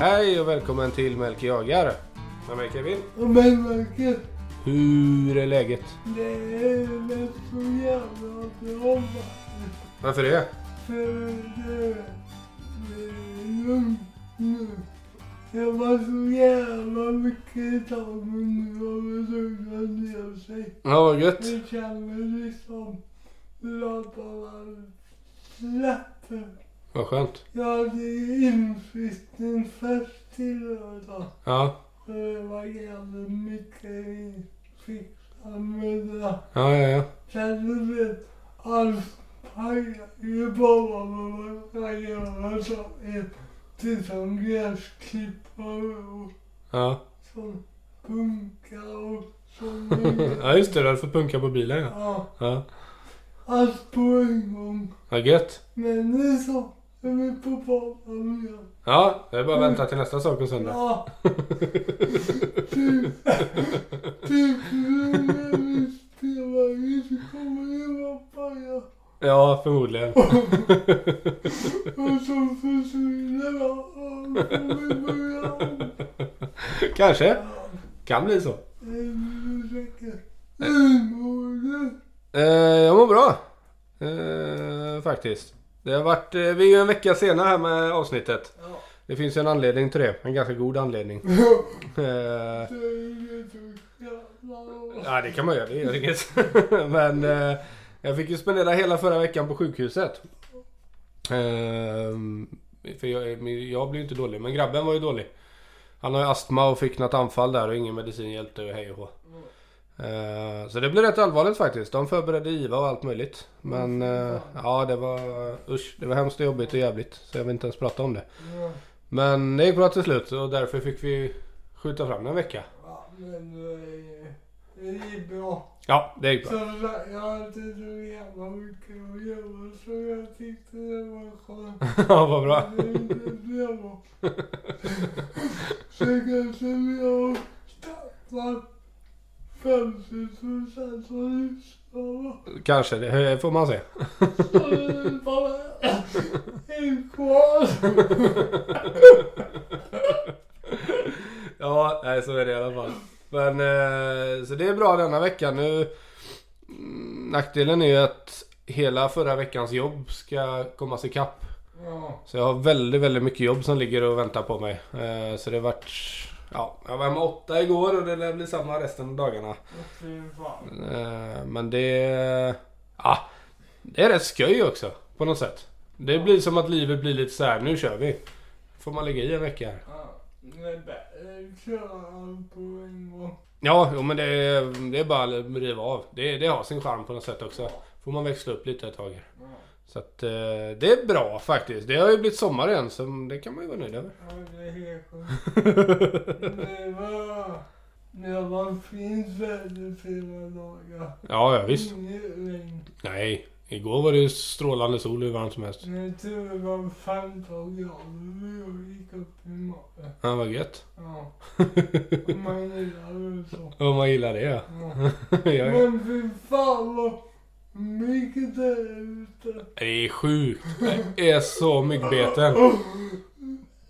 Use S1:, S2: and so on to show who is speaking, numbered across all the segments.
S1: Hej och välkommen till Melker jagar. Med mig Kevin.
S2: Och men Marcus,
S1: Hur är läget?
S2: det är väl så jävla bra va?
S1: Varför det?
S2: För det det är lugnt nu. Det var så jävla mycket tag men nu har det lugnat ner sig.
S1: Ja, vad gött.
S2: Det känner liksom laddarna släpper.
S1: Vad skönt.
S2: Jag hade inflyttningsfest till idag.
S1: Ja,
S2: Så det var jävligt mycket vi fixade med det där.
S1: ja, ja. ja.
S2: Sen du vet, allt pajar ju bara med vad man göra saker till som gräsklippare och
S1: Ja,
S2: som punkar och sånt.
S1: ja just det. Du hade fått punka på bilen ja.
S2: Ja,
S1: Ja,
S2: allt på en gång.
S1: vad gött.
S2: Men nu så är vi på banan igen.
S1: Ja, det är bara att vänta till nästa sak på söndag.
S2: Ja. Typ, typ nu när vi spelar in så kommer det vara paja.
S1: Ja, förmodligen.
S2: Och så försvinner jag och kommer börja om.
S1: Kanske. Kan bli så.
S2: Det blir säkert. Hur mår du?
S1: Eh, jag mår bra. Eh, faktiskt. Det har varit, eh, vi är ju en vecka sena här med avsnittet.
S2: Ja.
S1: Det finns ju en anledning till det. En ganska god anledning. Eh,
S2: Det är ju så jävla bra.
S1: Ja, det kan man göra. Det gör inget. Men eh, jag fick ju spendera hela förra veckan på sjukhuset. Ehm, för jag, men jag blev ju inte dålig, men grabben var ju dålig. Han har ju astma och fick något anfall där och ingen medicin hjälpte och hej och hå. Eh, Så det blev rätt allvarligt faktiskt. De förberedde IVA och allt möjligt. Men eh, ja, det var usch, det var hemskt och jobbigt och jävligt. Så jag vill inte ens prata om det.
S2: Ja.
S1: Men det gick bra till slut och därför fick vi skjuta fram den en vecka.
S2: Ja, men det är- det är bra.
S1: Ja, det gick bra.
S2: Så jag hade så jävla mycket att göra så jag tyckte det var skönt.
S1: Ja, vad bra.
S2: Det är inte det var. Så kanske vi har tappat 50 procent av lyssnarna.
S1: Kanske, det får man se.
S2: Så det är bara en kvar.
S1: Ja, nej, så är det i alla fall. Men, eh, så det är bra denna veckan. Nu, mm, nackdelen är ju att hela förra veckans jobb ska kommas ikapp.
S2: Ja,
S1: Så jag har väldigt, väldigt mycket jobb som ligger och väntar på mig. Eh, Så det vart... Ja, jag var hemma åtta igår och det lär bli samma resten av dagarna.
S2: fy fan.
S1: Eh, Men det... Ja, det är rätt skoj också på något sätt. Det blir som att livet blir lite så här, nu kör vi. Får man lägga i en vecka här.
S2: Ja, det är bättre att köra allt på en gång.
S1: Ja, jo, men det är, det är bara att riva av. Det, det har sin charm på något sätt också. Får man växla upp lite ett tag. här.
S2: Ja,
S1: Så att eh, det är bra faktiskt. Det har ju blivit sommar igen så det kan man ju vara nöjd över.
S2: ja, det är helt sjukt. Det var, det var fint väder flera dagar.
S1: ja, ja visst.
S2: Inget regn.
S1: Nej, igår var det ju strålande sol hur varmt som helst.
S2: Jag tror det var 15 grader när jag gick upp i morgon.
S1: Ja, vad gött.
S2: Ja. Om Man gillar det så.
S1: Om man gillar det ja.
S2: Ja.
S1: ja. ja.
S2: Men fy fan vad mycket det är ute.
S1: Det är sjukt. Det är så myggbeten.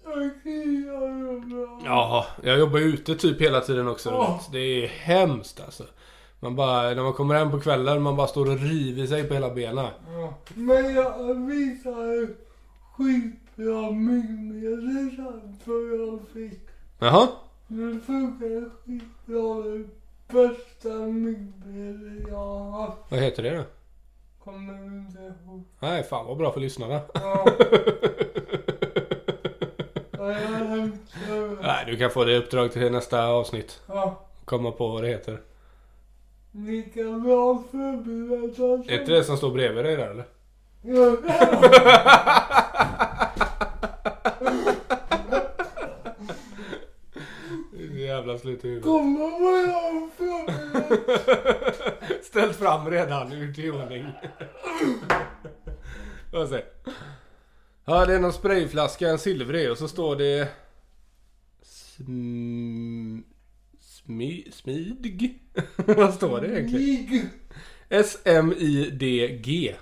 S2: Jag kliar överallt.
S1: Ja, jag jobbar ju ute typ hela tiden också. du vet. Det är hemskt alltså. Man bara, när man kommer hem på kvällen, man bara står och river sig på hela benen.
S2: Ja. Men jag visade ju skitbra myggmedel sen som jag fick.
S1: Jaha?
S2: Det funkar skitbra. Det bästa myggmedel jag har haft.
S1: Vad heter det då?
S2: Kommer inte ihåg.
S1: Nej, fan vad bra för lyssnarna.
S2: Ja. Ja, jag har hemskt över.
S1: Nej, du kan få det i uppdrag till nästa avsnitt.
S2: Ja.
S1: Komma på vad det heter.
S2: Lika bra förberedd som...
S1: Är inte det som står bredvid dig där eller?
S2: Ja.
S1: Jävla slut i huvudet.
S2: Kolla vad jag har förberett.
S1: Ställt fram redan, gjort i ordning. Vad säger Ja, det är någon sprayflaska, en silvrig och så står det... Sm... Smi... Smidg? vad står det egentligen?
S2: Mygg.
S1: S-M-I-D-G.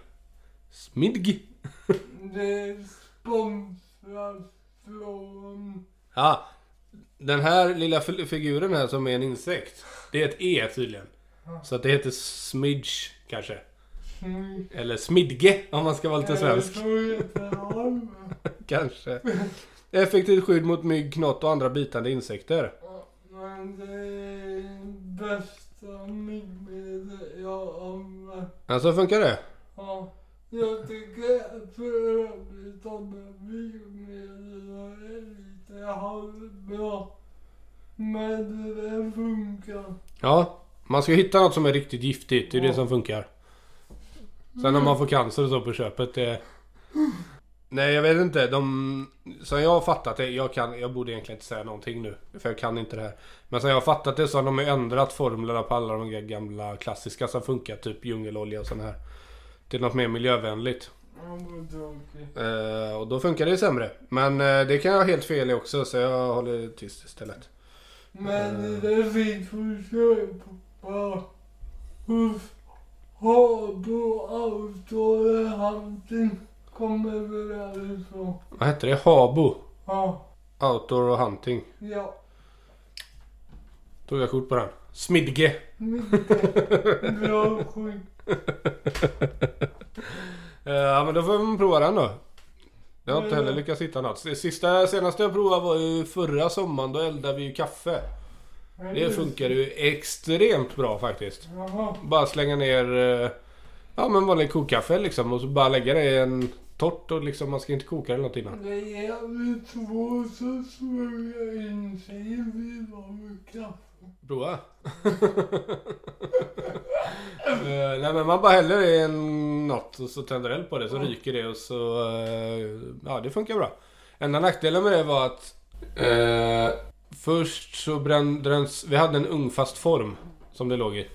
S1: Smidg.
S2: Det är sponsrat från
S1: Ja, den här lilla fi- figuren här som är en insekt. Det är ett E tydligen. Så att det heter smidge kanske.
S2: Snyggt.
S1: Eller smidge om man ska vara lite svensk.
S2: Jag tror jättevarm.
S1: Kanske. Effektivt skydd mot mygg, knott och andra bitande insekter.
S2: Men det är bästa myggmedlet jag har använt.
S1: Alltså funkar det?
S2: Ja, jag tycker för övrigt om biomedel är lite halvbra. Men det funkar.
S1: Ja. Man ska hitta något som är riktigt giftigt. Det är det som funkar. Sen om man får cancer och så på köpet. Det... Nej jag vet inte. De... Som jag har fattat det. Jag, kan... jag borde egentligen inte säga någonting nu. För jag kan inte det här. Men som jag har fattat det så har de ju ändrat formlerna på alla de gamla klassiska som funkar. Typ djungelolja och sån här. Till något mer miljövänligt.
S2: Ja, vad tråkigt.
S1: Eh, och då funkar det ju sämre. Men eh, det kan jag ha helt fel i också så jag håller tyst istället. Eh.
S2: Men det finns att köpa hos Habo Outdoor-handeln. Kommer väl därifrån.
S1: Vad hette det? Habo.
S2: Ja,
S1: Outdoor och hunting.
S2: ja.
S1: Tog jag kort på den. Smidge.
S2: Mycket bra skit.
S1: Eh, Ja men då får man prova den då. Jag har inte heller lyckats hitta något. Det sista, senaste jag provade var ju förra sommaren. Då eldade vi ju kaffe.
S2: Mm.
S1: Det funkar ju extremt bra faktiskt.
S2: Jaha.
S1: Bara slänga ner eh, ja men vanlig kokkaffe liksom och så bara lägga det i en torrt och liksom man ska inte koka det eller något innan.
S2: Det är vi två som smörjer in sig i varm kaffe.
S1: Prova. Eh, nej men man bara häller i en- något och så tänder eld på det så ryker det och så... eh, ja det funkar bra. Enda nackdelen med det var att... eh, först så brände den... s- Vi hade en ungfast form som det låg i.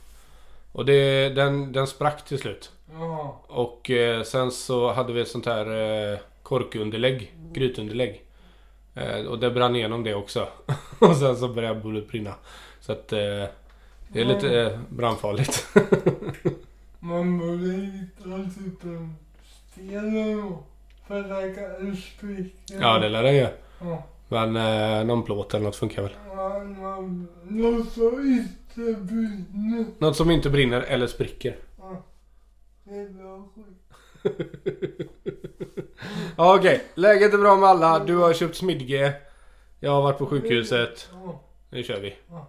S1: Och det, den, den sprack till slut.
S2: Jaha.
S1: Och eh, sen så hade vi ett sånt här eh, korkunderlägg, grytunderlägg. Eh, och det brann igenom det också. och sen så började bullet brinna. Så att eh, det är lite eh, brandfarligt.
S2: Man borde hitta typ en sten eller nåt. För det kan spricka.
S1: ja det lär den ju.
S2: Ja.
S1: Men eh, någon plåt eller något funkar väl.
S2: Man, man, något som inte brinner.
S1: Något som inte brinner eller spricker.
S2: Ja. Det är bra skit.
S1: Ja, Okej, läget är bra med alla. Du har köpt smidge. Jag har varit på sjukhuset.
S2: Ja.
S1: Nu kör vi.
S2: Ja.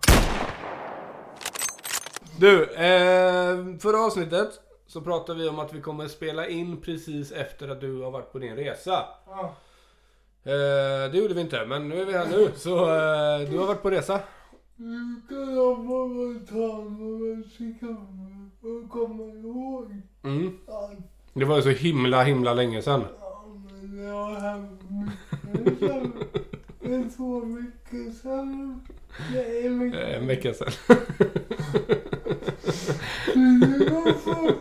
S1: Du, eh, förra avsnittet så pratade vi om att vi kommer spela in precis efter att du har varit på din resa.
S2: Ja.
S1: Eh, det gjorde vi inte, men nu är vi här nu. Så eh, du har varit på resa.
S2: Nu kan jag bara ta några sekunder och komma ihåg
S1: Mm.
S2: allt.
S1: Det var ju så himla, himla länge sedan.
S2: Ja, men det har hänt mycket sen. Det är så mycket sen. Det är
S1: Eh, en
S2: mycket.
S1: vecka sedan.
S2: Det var så-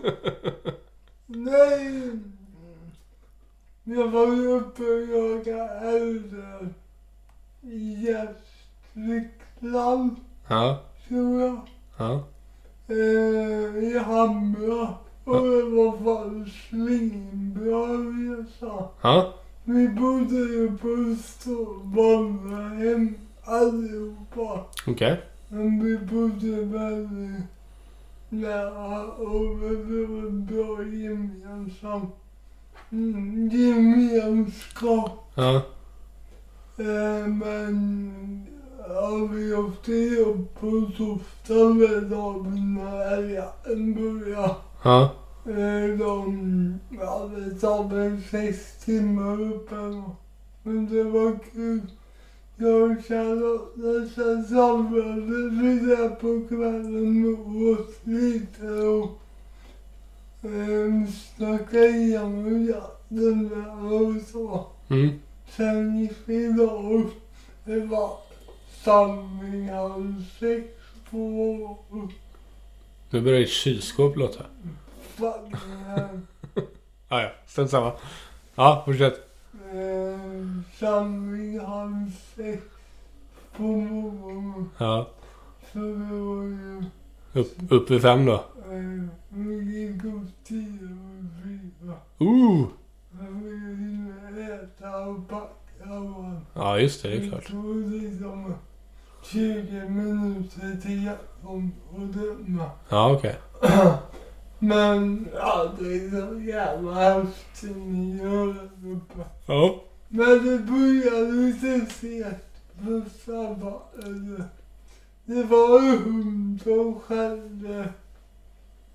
S2: Nej. Jag var ju uppe och jagade älgar i Gästrikland,
S1: Ja,
S2: tror jag.
S1: ja.
S2: Eh, I Hamra. Och det var fan svinbra resa.
S1: Ja,
S2: Vi bodde ju på Östermalmshem allihopa.
S1: okej.
S2: Men vi bodde väldigt nära och det var en bra gemensam mm, gemenskap.
S1: Ja,
S2: Eh, men ja, vi åkte ju på torsdagen med dagen när älgen började.
S1: ja,
S2: Eh, De hade tagit sex timmar uppe. då. Men det var kul. Jag och Charlotte sen samlades vi där på kvällen och åt lite och eh, snackade igenom jakten där och så.
S1: mm.
S2: Sen gick vi då upp. Det var samling halv sex på
S1: Nu börjar ditt kylskåp låta.
S2: Fagerhem.
S1: Ah, ja, strunt samma. Ja, fortsätt.
S2: Eh, samling halv sex på morgonen.
S1: Ja.
S2: Så det var ju...
S1: Upp, upp vid fem då.
S2: Eh, vi gick upp tio och fyra.
S1: Ooh!
S2: Jag ville hinna äta och packa och allt.
S1: Ja, just det. Det är klart.
S2: tog liksom 20 minuter till Jackson att döma.
S1: Ja, okej.
S2: Men aldrig så jävla häftig miljö där uppe.
S1: Ja.
S2: Men det började inte se första barnet. Det var en hund som skällde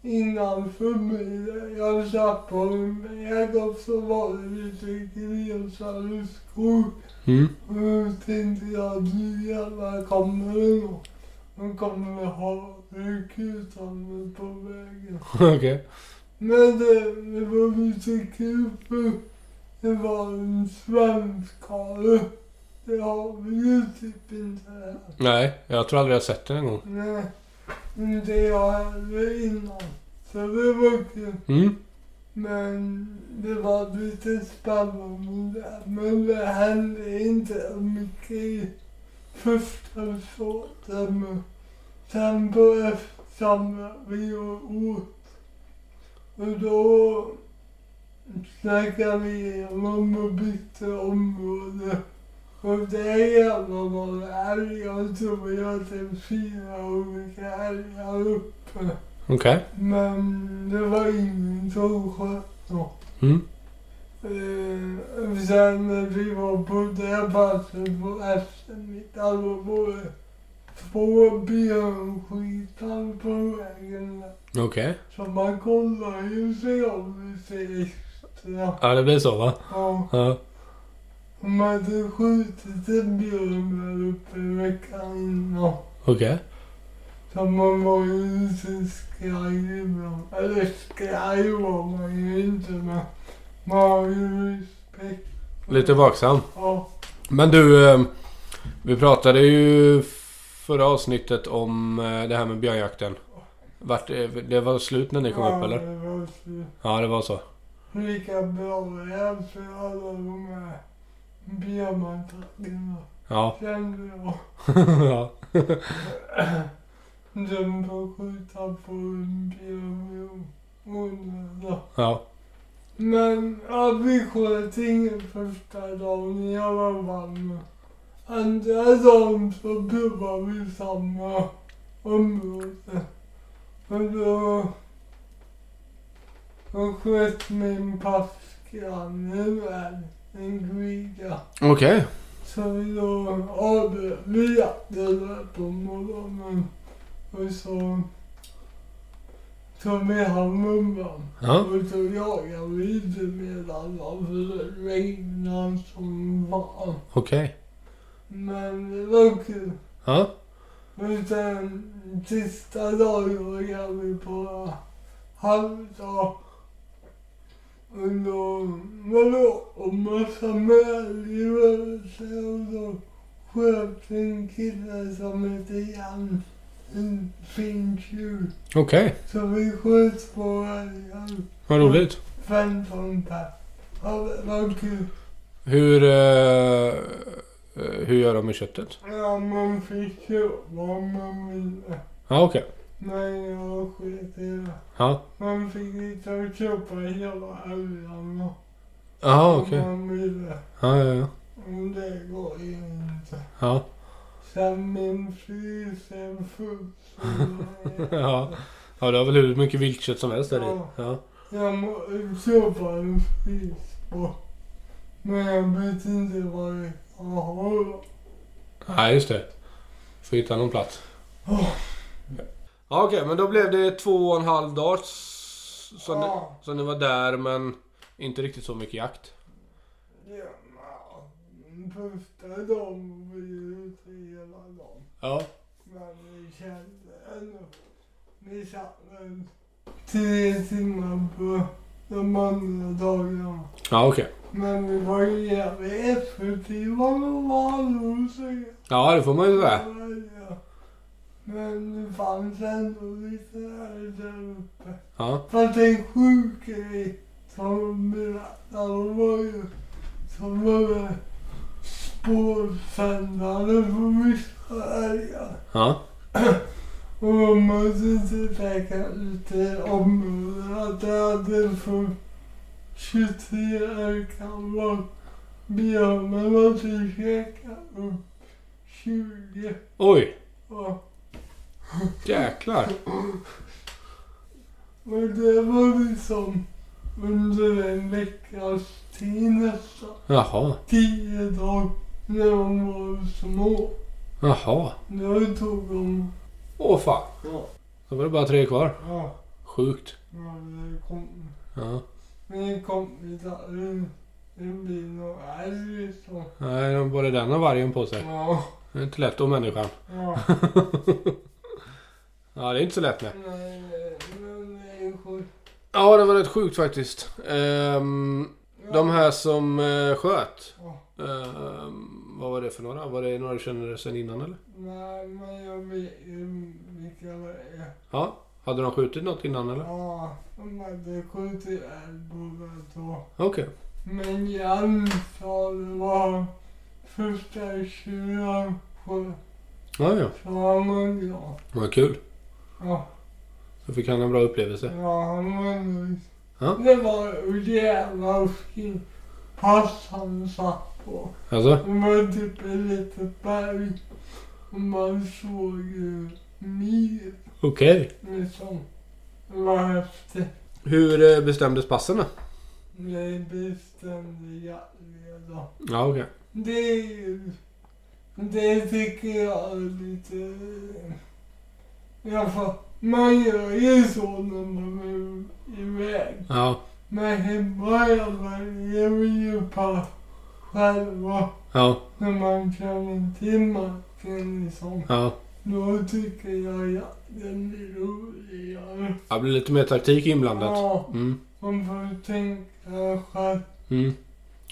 S2: innanför mig. Jag satt på en väg och så var det lite grisar i skog.
S1: Mm.
S2: Och då tänkte jag nu jävlar kommer det någon. De kommer ha ryggkutan mig på vägen.
S1: Okej.
S2: Men det, det var lite kul för det var en svenskare. Det har vi ju typ inte här.
S1: Nej, jag tror aldrig jag har sett den en gång.
S2: Nej, inte jag heller innan. Så det var kul.
S1: Mm.
S2: Men det var lite spännande där. Men det hände inte så mycket i första såten. Men sen på eftermiddagen vi åt. Och då snackade vi igenom och bytte område. Och där jävlar var det älgar. Jag tror jag hade typ fyra olika älgar uppe.
S1: Okej.
S2: Men det var ingen som sköt dem.
S1: Mm.
S2: Eh, sen när vi var på det passet på eftermiddagen då var det två björnskitar på vägen.
S1: Okej.
S2: Så man kollar ju sig om lite extra.
S1: Ja, det blir så va?
S2: Ja,
S1: Ja.
S2: de hade skjutit en björn där uppe veckan innan.
S1: Okej.
S2: Så man var ju lite skraj ibland. Eller skraj var man ju inte men man har ju respekt.
S1: Lite vaksam.
S2: Ja.
S1: Men du, eh, vi pratade ju förra avsnittet om eh, det här med björnjakten. Vart, eh, det var slut när ni kom upp eller?
S2: det var så
S1: Ja, det var så.
S2: Lika bra det för alla de här björnmattackerna
S1: Ja.
S2: kände jag.
S1: ja.
S2: De får skjuta på en björn i onödan.
S1: Ja.
S2: Men ja, vi sköt ingen första dagen jag var varm. Andra dagen så provade vi samma område. Och då, då sköt min passgranne med en grida.
S1: Okej.
S2: Så då avbröt vi jakten där på morgonen. Och så tog vi hand om dem.
S1: Ja.
S2: Och så jagade vi inte medan dem för det regnade som fan.
S1: Okej.
S2: Men det var kul.
S1: Ja.
S2: Men sen sista dagen jagade vi på halvdag. Och då var det och massa medrörelser och då sköt en kille som hette Jan en fin tjur.
S1: Okej.
S2: Så vi sköt på älgar.
S1: Vad roligt.
S2: 15 per. Ja, vad kul.
S1: Hur, eh, hur gör de med köttet?
S2: Ja, man fick ju vad man ville.
S1: Ja, okej.
S2: Men jag sket i det.
S1: Ja.
S2: Man fick inte köpa hela älgen om
S1: Jaha, okej.
S2: man ville.
S1: Ja, ja, ja.
S2: Och det går ju inte.
S1: Ja.
S2: Sen min frys är full.
S1: Ja. Ja, du har väl hur mycket viltkött som helst där i.
S2: Ja.
S1: Ja.
S2: Jag må- köpa en frys på. Men jag vet inte vad jag ska ha då.
S1: Nej, just det. Får hitta någon plats.
S2: Åh.
S1: Ja, okej. Men då blev det två och en halv dag s- som, ni,
S2: Ja.
S1: som ni var där, men inte riktigt så mycket jakt.
S2: Ja, men första dagen var ju ute hela dagen.
S1: Ja.
S2: Men vi kände ändå. Vi satt väl tre timmar på de andra dagarna.
S1: Ja, okej.
S2: Men vi var ju jävligt effektiva med vanor säger
S1: Ja, det får man ju säga.
S2: jag. Men det fanns ändå lite här där uppe.
S1: Ja.
S2: Fast en sjuk grej som de berättade var ju som var det spårsändare för vissa älgar.
S1: Ja.
S2: Och man måste typ lägga ut i området att det hade för 23 älgar var björnen måste käka upp 20.
S1: Oj!
S2: Ja.
S1: Jäklar!
S2: Men det var liksom under en veckas tid nästan.
S1: Jaha.
S2: Tio dagar när de var små.
S1: Jaha.
S2: Nu tog de...
S1: Åh fan.
S2: Ja.
S1: Då var det bara tre kvar.
S2: Ja.
S1: Sjukt.
S2: Men det kom...
S1: Ja.
S2: Min kompisar, det- det blir nog älg så.
S1: Nej, de har både den och vargen på sig.
S2: Ja.
S1: Det är inte lätt om människan.
S2: Ja.
S1: Ja, det är inte så lätt nej.
S2: Men, eh, men människor.
S1: Ja, det var rätt sjukt faktiskt. Ehm,
S2: Ja.
S1: de här som eh, sköt.
S2: Ja.
S1: Ehm, vad var det för några? Var det några du kände sen innan eller?
S2: Nej, men jag vet ju vilka det är.
S1: Ja. Hade de skjutit något innan eller?
S2: Ja, de hade skjutit älg båda två.
S1: Okej.
S2: Men Jan sa det var första tjuren på
S1: Ja, ja.
S2: han och jag.
S1: Vad kul.
S2: Ja,
S1: Då fick han en bra upplevelse.
S2: ja, han var nöjd.
S1: Ja.
S2: Det var ju jävla fint pass han satt på.
S1: Alltså?
S2: Det var typ ett litet berg. Och man såg ju mil
S1: Okej.
S2: liksom. Det var häftigt.
S1: Hur eh, bestämdes passen då?
S2: Det bestämde jag redan.
S1: Ja, okej.
S2: Det, det tycker jag är lite... eh, Jag får, man gör ju så när man är iväg.
S1: Ja.
S2: Men hemma jag väljer vi ju pass själva.
S1: Ja.
S2: När man känner till marken liksom.
S1: Ja.
S2: Då tycker jag jakten blir roligare.
S1: Det blir lite mer taktik inblandat.
S2: Ja,
S1: Mm.
S2: man får tänka själv.
S1: Mm.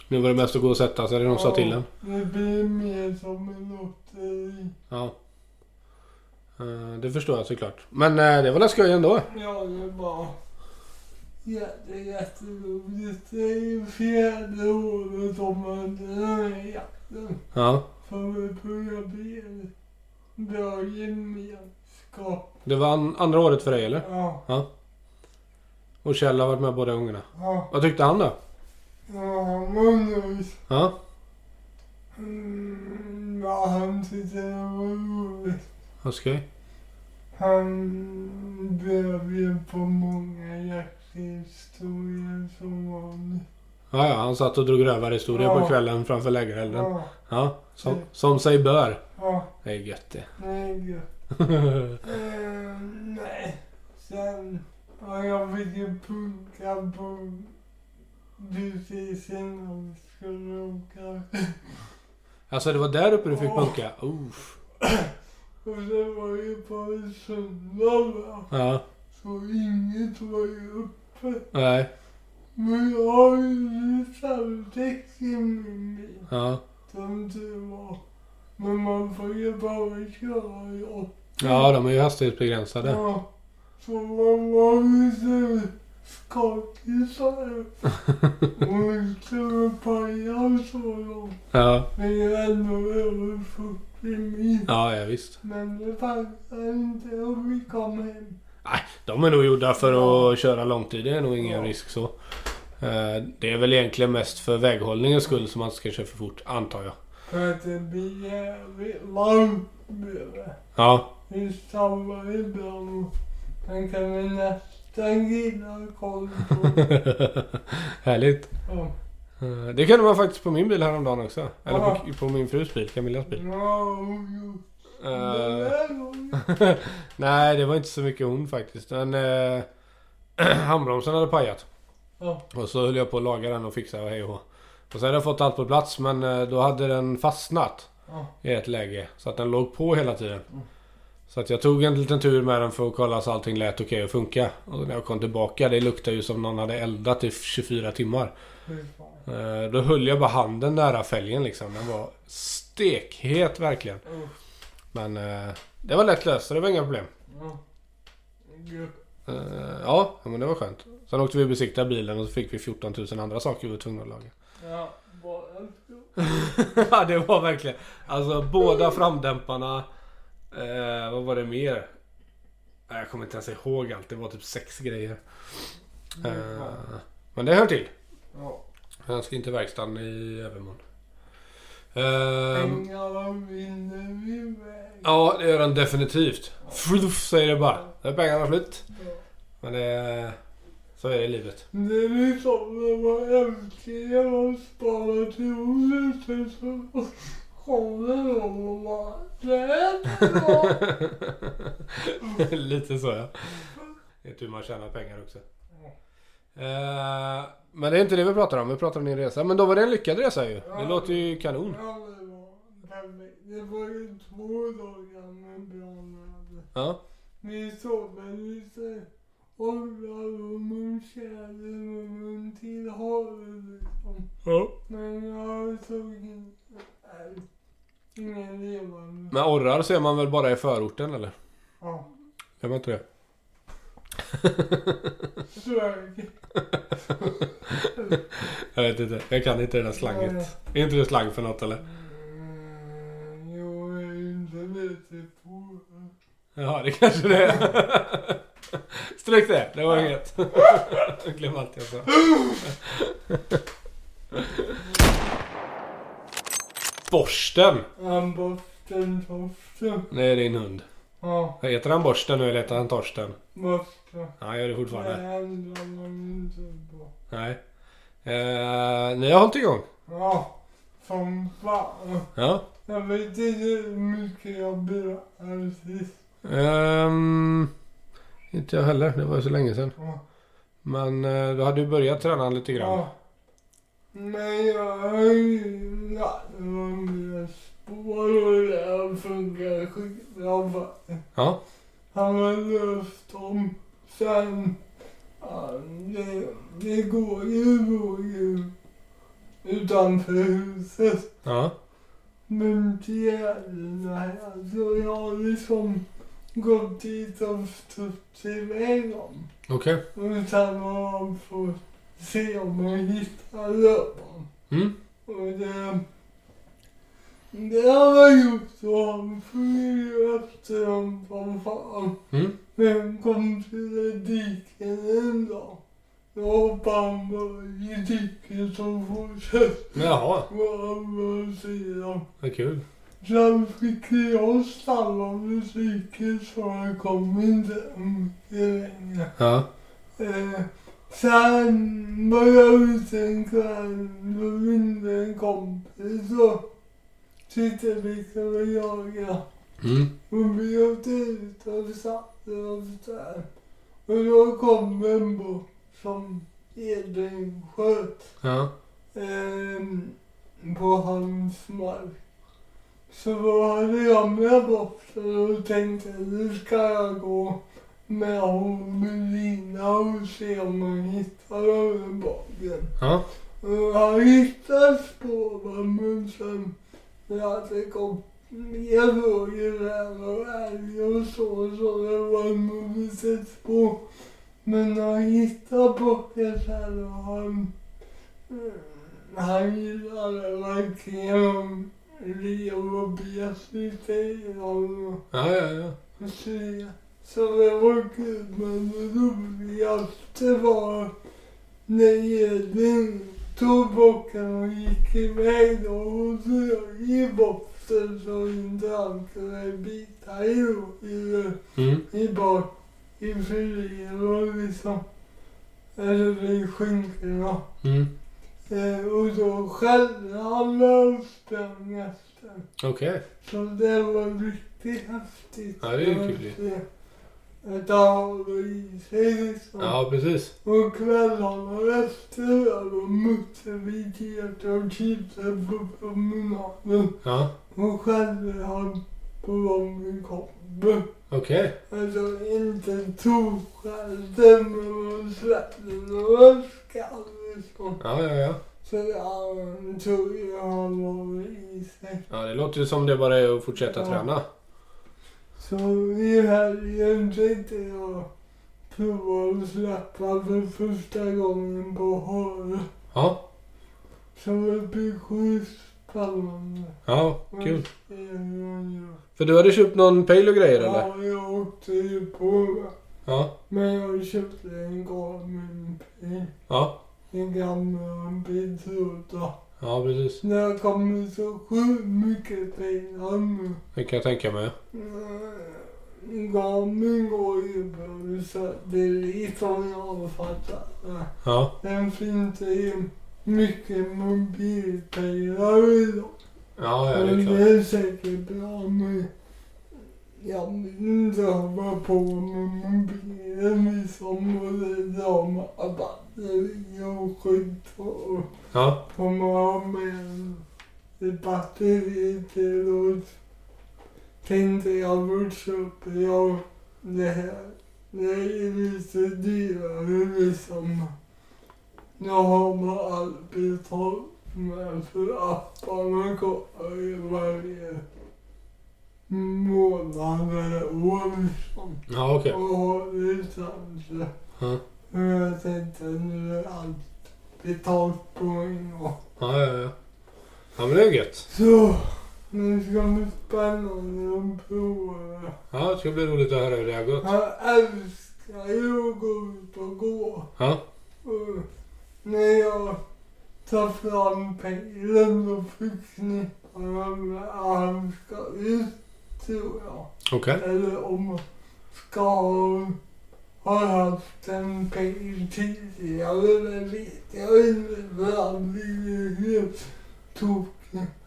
S1: Nu var det bäst att gå och sätta sig. Det är någon som sa till en.
S2: Det blir mer som en lotteri.
S1: Ja. Eh, Det förstår jag såklart. Men eh, det var väl skoj ändå?
S2: Ja, det var jätte, jätteroligt. Det är ju fjärde året om man den här jakten.
S1: Ja.
S2: För vi börjar bli en bra gemenskap.
S1: Det var an- andra året för dig eller?
S2: Ja,
S1: Och Kjell har varit med båda gångerna.
S2: ja,
S1: Vad tyckte han då?
S2: ja, Magnus.
S1: Ja.
S2: Mm, ja, han tyckte det var roligt.
S1: Vad skoj.
S2: Han blev ju på många jakthistorier som vanligt.
S1: Ja, ja. Han satt och drog rövarhistorier
S2: Ja.
S1: på kvällen framför lägerelden.
S2: Ja,
S1: Ja. Som, som sig bör.
S2: ja,
S1: Det är gött det.
S2: nej gud. Eh, nej. Sen har jag fick ju punka på precis innan vi skulle åka.
S1: alltså det var där uppe du fick
S2: Ja.
S1: punka? Uff.
S2: Och det var ju på en söndag va?
S1: Ja.
S2: Så inget var ju uppe.
S1: Nej.
S2: Men jag har ju reservdäck i min bil.
S1: Ja.
S2: Som tur var. Men man får ju bara köra i åtta.
S1: Ja, de är ju hastighetsbegränsade.
S2: Mm. Ja. Så man var ju så skakig så här. Och inte med pajar så långt.
S1: Ja.
S2: Men jag är ändå över 40 mil.
S1: Ja, ja visst.
S2: Men det passar inte om vi kom hem.
S1: De är nog gjorda för att köra långtid. Det är nog ingen
S2: Ja.
S1: risk så. Eh, Det är väl egentligen mest för väghållningens skull som man inte ska köra för fort, antar jag.
S2: För att det blir jävligt varmt blev det.
S1: Ja.
S2: Vi stannar ibland och sen kan vi nästan gilla koll på.
S1: Härligt.
S2: Ja.
S1: Eh, Det kunde man faktiskt på min bil häromdagen också. Eller på,
S2: Aha.
S1: på min frus bil, Camillas bil.
S2: Ja, och just den
S1: Eh,
S2: här gången.
S1: nej, det var inte så mycket hon faktiskt. Men eh, handbromsen hade pajat.
S2: Ja.
S1: Och så höll jag på att laga den och fixa och hej och hå. Och sen hade jag fått allt på plats men eh, då hade den fastnat
S2: Ja.
S1: i ett läge. Så att den låg på hela tiden. Så att jag tog en liten tur med den för att kolla så allting lät okej och funka. Och när jag kom tillbaka, det luktade ju som någon hade eldat i 24 timmar.
S2: Fy fan.
S1: Eh, Då höll jag bara handen nära fälgen liksom. Den var stekhet verkligen.
S2: Ja.
S1: Men eh, det var lätt löst så det var inga problem.
S2: Ja. Gud.
S1: Eh, Ja, men det var skönt. Sen åkte vi och besiktade bilen och så fick vi 14 000 andra saker vi var tvungna att laga.
S2: Ja, bara så.
S1: ja, det var verkligen. Alltså båda framdämparna. Eh, vad var det mer? Nej, Jag kommer inte ens ihåg allt. Det var typ sex grejer. Eh, men det hör till.
S2: Ja.
S1: Han ska in till verkstaden i övermorgon. Ehm,
S2: Pengarna vinner vi med.
S1: ja, det gör han definitivt. Fluff säger det bara. Där är pengarna slut. Men det... Så är det i livet.
S2: Det är liksom när man äntligen har sparat ihop lite så kommer de och bara Det är bra.
S1: Lite så ja. Vet hur man tjänar pengar också. Eh, men det är inte det vi pratar om. Vi pratar om din resa. Men då var det en lyckad resa ju. Det låter ju kanon.
S2: Ja, det var perfekt. Det var ju två dagar med bra väder.
S1: Ja.
S2: Vi sover lite olja och munkäder och mun till havet liksom.
S1: ja.
S2: Men jag såg in- nej, ingen levande.
S1: Men orrar ser man väl bara i förorten eller?
S2: Ja,
S1: Gör man inte det?
S2: så är det.
S1: Jag vet inte. Jag kan inte det där slanget. Är inte det slang för något eller?
S2: Mm, Jag är inte lite på.
S1: Ja, det kanske det är. Stryk det. Det var inget. Glöm allt jag sa. Borsten.
S2: Han borsten, torsten.
S1: Det är din hund.
S2: Ja,
S1: Heter han Borsten nu eller heter han Torsten?
S2: borsten.
S1: Ja, han gör det
S2: Det
S1: fortfarande.
S2: handlar man inte på.
S1: Nej. Eh, ni har hållit igång?
S2: Ja, som fan.
S1: Ja.
S2: Jag vet inte hur mycket jag berättar sist.
S1: Ehm, inte jag heller. Det var ju så länge sedan.
S2: Ja.
S1: Men eh, du hade ju börjat träna lite grann.
S2: Ja. Men jag har ju lärt mig mina spår och det här funkar skitbra faktiskt.
S1: Ja.
S2: Han har löst dem sen. Ja, det, det går ju, går ju utanför huset.
S1: Ja.
S2: Men det är nej, alltså jag har liksom gått dit och stått iväg dem.
S1: Okej.
S2: Utan att man får se om jag hittar löparen.
S1: Mm.
S2: Och det... Det har jag gjort och han flyger efter dem som fan.
S1: Mm.
S2: Men kom till ett diken en dag. Då hoppade han bara i diket och fortsatte
S1: Jaha.
S2: på andra sidan.
S1: Vad kul.
S2: Sen fick jag stanna musiken så jag kom inte mycket längre.
S1: Ja.
S2: Eh, sen var jag ute en kväll och ringde en kompis och tyckte vi kunde jaga.
S1: Mm.
S2: Och vi åkte ut och satte oss där. Och då kom en båt som Edvin sköt
S1: Ja.
S2: ehm, på hans mark. Så då hade jag med boxen och tänkte nu ska jag gå med hon Melina och se om man hittar överbaken.
S1: Ja.
S2: Och han hittade spåren men sen när det kom mer frågor där och älg och så, så det var nog lite spår. Men han hittade bocken sen och han Mm, Han gillade verkligen Leo och Beatrice Tejan
S1: Ja, ja, ja.
S2: och Sia. Så det var kul, men det roligaste var när Edvin tog bocken och gick iväg då och drog i boxen så inte han kunde bita i rådjuret
S1: Mm.
S2: i bak i filéer och liksom, eller i skinkorna.
S1: Mm.
S2: Eh, och då skällde han löst den efter.
S1: Okej.
S2: Så det var riktigt häftigt.
S1: Ja, det är ju kul
S2: ju. Att han håller i sig liksom.
S1: Ja, precis.
S2: Och kvällarna efter där då mötte vi Greta och Kitte på promenaden.
S1: Ja.
S2: Och skällde han på dem vi kom
S1: Okej.
S2: Alltså inte torskällde men man släppte några skall liksom.
S1: Ja, ja, ja.
S2: Så jag tog ju honom i sig.
S1: Ja, det låter ju som det bara är att fortsätta
S2: Ja.
S1: träna.
S2: Så i helgen tänkte jag prova att släppa för första gången på havet.
S1: Ja.
S2: Så det blir sjukt spännande.
S1: Ja, kul.
S2: Det är hur jag gör.
S1: För du hade köpt någon pejl och grejer eller?
S2: Ja, jag åkte ju på det.
S1: Ja.
S2: Men jag köpte en garmin
S1: Ja.
S2: min gamla betrotda.
S1: Ja, precis.
S2: När det kommer så sjukt mycket pengar nu.
S1: Det kan jag tänka mig.
S2: Mm, Gamen går Eh, ju på satellit om jag fattar det.
S1: Ja.
S2: Sen eh, finns det ju mycket mobilpengar idag.
S1: Ja, ja, det
S2: Men
S1: är
S2: det
S1: klart.
S2: är säkert bra men jag vill inte hålla på med mobilen i sommarrabatter och skit och
S1: Ja.
S2: komma av med ett batteri till och tänkte jag väl köpa jag det här. Det är lite dyrare liksom. Jag har man allt betalt med för apparna kostar ju varje månad eller år liksom.
S1: Ja, okej.
S2: Och har licenser.
S1: Ja.
S2: Men jag tänkte nu är allt betalt på en gång.
S1: Ja, ja, ja. Ja, men det är gött.
S2: Så, nu ska vi spännande att prova det.
S1: Ja, det ska bli roligt att höra hur det har gått.
S2: Jag älskar ju att gå ut och gå.
S1: Ja.
S2: Och när jag tar fram pejlen då förknippar jag med att han ska ut, tror jag.
S1: Okej.
S2: Eller om jag ska ha- ha haft en pejl tidigare, det vet jag inte. För han blir ju helt tokig.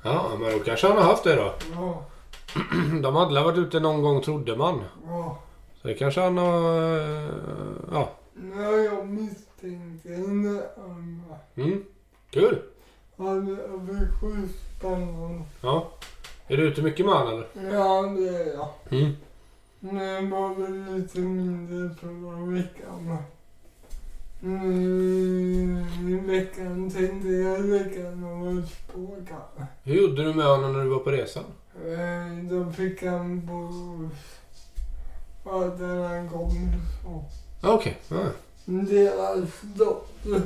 S1: Ja, men då kanske han har haft det då.
S2: Ja,
S1: De hade väl varit ute någon gång trodde man.
S2: ja.
S1: Så det kanske han har... eh, Ja.
S2: Nej, jag misstänker henne. Um,
S1: Mm. Kul.
S2: han är sjukt spännande.
S1: Ja. Är du ute mycket med han eller?
S2: Ja, det är jag.
S1: Mm.
S2: Men jag var väl lite mindre förra veckan. Nu Mm, i veckan tänkte jag lägga några spår kanske.
S1: Hur gjorde du med honom när du var på resan?
S2: Eh, Då fick han buss. Ja, där han kom ifrån.
S1: Ja, Ah, okej. Ja.
S2: Deras dotter.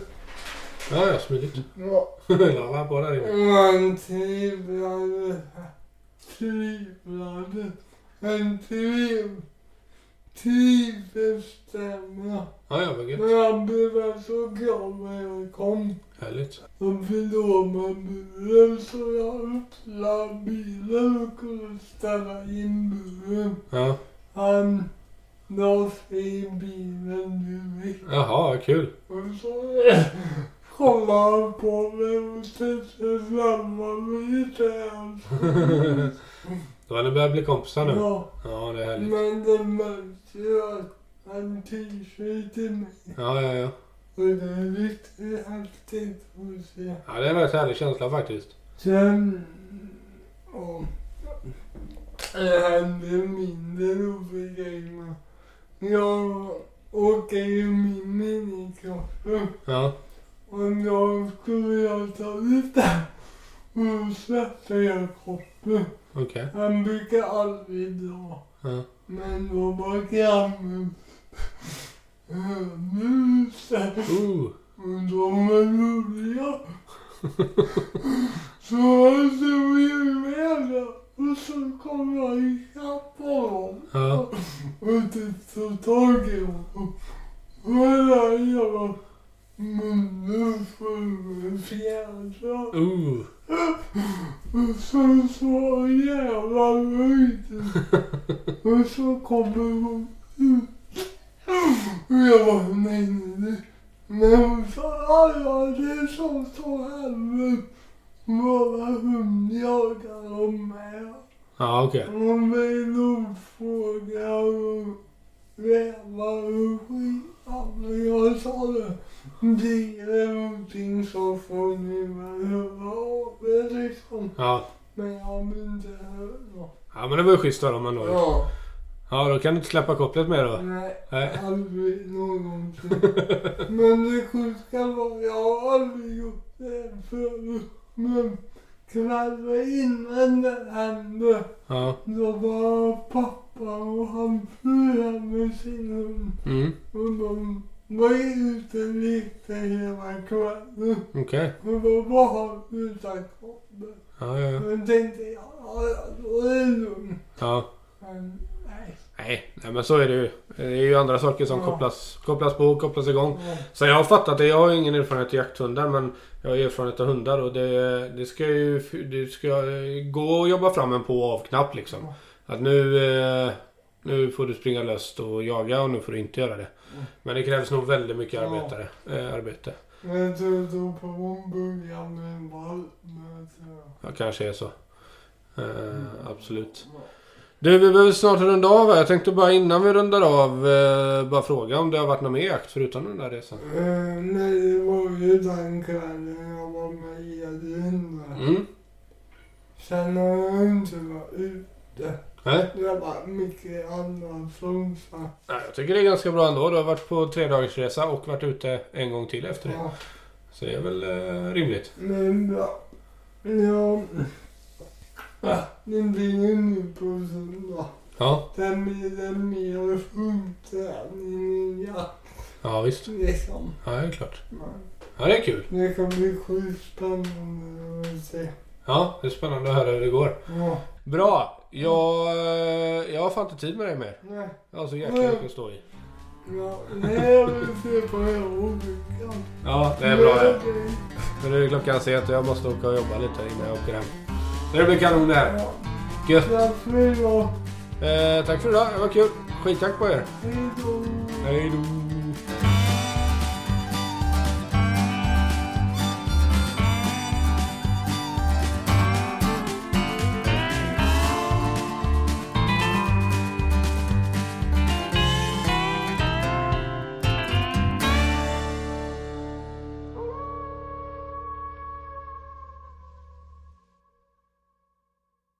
S1: Ja, ja, smidigt.
S2: Ja.
S1: Lalla på där inne.
S2: Man tvivlade. Tvivlade. En tviv. Tvivelsstämma.
S1: Ja, ja, vad gött.
S2: Men jag blev så glad när jag kom.
S1: Härligt.
S2: Jag fyllde av mig buren så jag öppnade bilen och kunde ställa in buren.
S1: Ja.
S2: Han la sig i bilen direkt.
S1: Jaha, kul.
S2: Och så kollade han på mig och tänkte samma mig lite. grann.
S1: Då har ni börjat bli kompisar nu.
S2: Ja,
S1: Ja, det är härligt.
S2: men det märks ju att han tyr sig till mig.
S1: Ja, ja, ja.
S2: Och det är riktigt häftigt att se.
S1: Ja, det är en rätt härlig känsla faktiskt.
S2: Sen... Ja. Det händer mindre roliga grejer. men Jag åker ju min minikross.
S1: Ja.
S2: Och då skulle jag ta ut den. Och då släppte jag kroppen.
S1: Okej.
S2: Han brukar aldrig dra.
S1: Ja.
S2: Men då var grannen musen
S1: Uh.
S2: och de var roliga. Så jag tog ju med den och så kom jag ikapp honom
S1: Ja.
S2: och typ tog tag i honom. Och hela jävla munnen full med fjädrar.
S1: Uh.
S2: Och så så jävla nöjd. Och så kommer hon ut. Och jag bara, nej, nej, nej. Men hon sa, "Ja, ja, det är som så här med våra hundjagar och med.
S1: Ja, okej.
S2: Hon vill uppfråga och väva och skita. Men jag sa det, blir det någonting så får ni väl höra av er liksom.
S1: Ja.
S2: Men jag vill inte höra.
S1: Ja, men det var ju schysst av dem ändå. ju.
S2: Ja.
S1: Ja, då kan du inte släppa kopplet mer då.
S2: Nej,
S1: Nej.
S2: aldrig någonsin. Men det sjuka var, jag har aldrig gjort det förut. Men kvällen innan det hände,
S1: Ja.
S2: då var pappa och hans fru här med sin hund.
S1: Mm.
S2: Och de var ute och lekte hela kvällen.
S1: Okej.
S2: Och då var han utan koppel.
S1: Ja, ja, ja.
S2: Men tänkte jag, ja, ja, då är det lugnt.
S1: Ja.
S2: Men nej.
S1: Nej, nej men så är det ju. Det är ju andra saker som
S2: Ja.
S1: kopplas, kopplas på och kopplas igång.
S2: Ja.
S1: Så jag har fattat det. Jag har ju ingen erfarenhet av jakthundar men jag har erfarenhet av hundar och det, det ska ju det ska gå att jobba fram en på och avknapp liksom. Att nu, eh, nu får du springa löst och jaga och nu får du inte göra det.
S2: Mm.
S1: Men det krävs nog väldigt mycket
S2: Ja.
S1: arbetare, eh, arbete.
S2: Men du då på början med en boll. men så-
S1: Ja, kanske är så. Eh, absolut. Du, vi behöver snart runda av här. Jag tänkte bara innan vi rundar av eh, bara fråga om det har varit någon mer jakt förutom den där resan.
S2: Eh, Nej, det var ju den kvällen jag var med Edvin. där.
S1: Mm.
S2: Sen har jag inte varit ute.
S1: Nej.
S2: Det har varit mycket annat som sagt.
S1: Nej, jag tycker det är ganska bra ändå. Du har varit på tre dagars resa och varit ute en gång till efter det.
S2: Ja,
S1: Så det är väl eh, rimligt.
S2: Men bra. Ja. Ja, Det blir ju nu på söndag.
S1: Ja,
S2: Den blir det mer hundträning i jakt
S1: ja visst.
S2: liksom.
S1: Ja, det är klart.
S2: Ja.
S1: Ja, det är kul.
S2: Det kan bli sjukt spännande att se.
S1: Ja, det är spännande att höra hur det går.
S2: Ja.
S1: Bra! Jag, eh, jag har fan inte tid med dig mer.
S2: Nej.
S1: Jag har så jäkla mycket att stå i.
S2: Ja, nej, jag vill se på hela olyckan.
S1: Ja, det är bra det.
S2: Okej.
S1: Men nu är klockan sent och jag måste åka och jobba lite innan jag åker hem. Så det blir kanon det här.
S2: Ja.
S1: Gött!
S2: Tack för idag.
S1: Eh, tack för idag, det var kul. Skitjakt på er.
S2: Hej då.
S1: Hej då!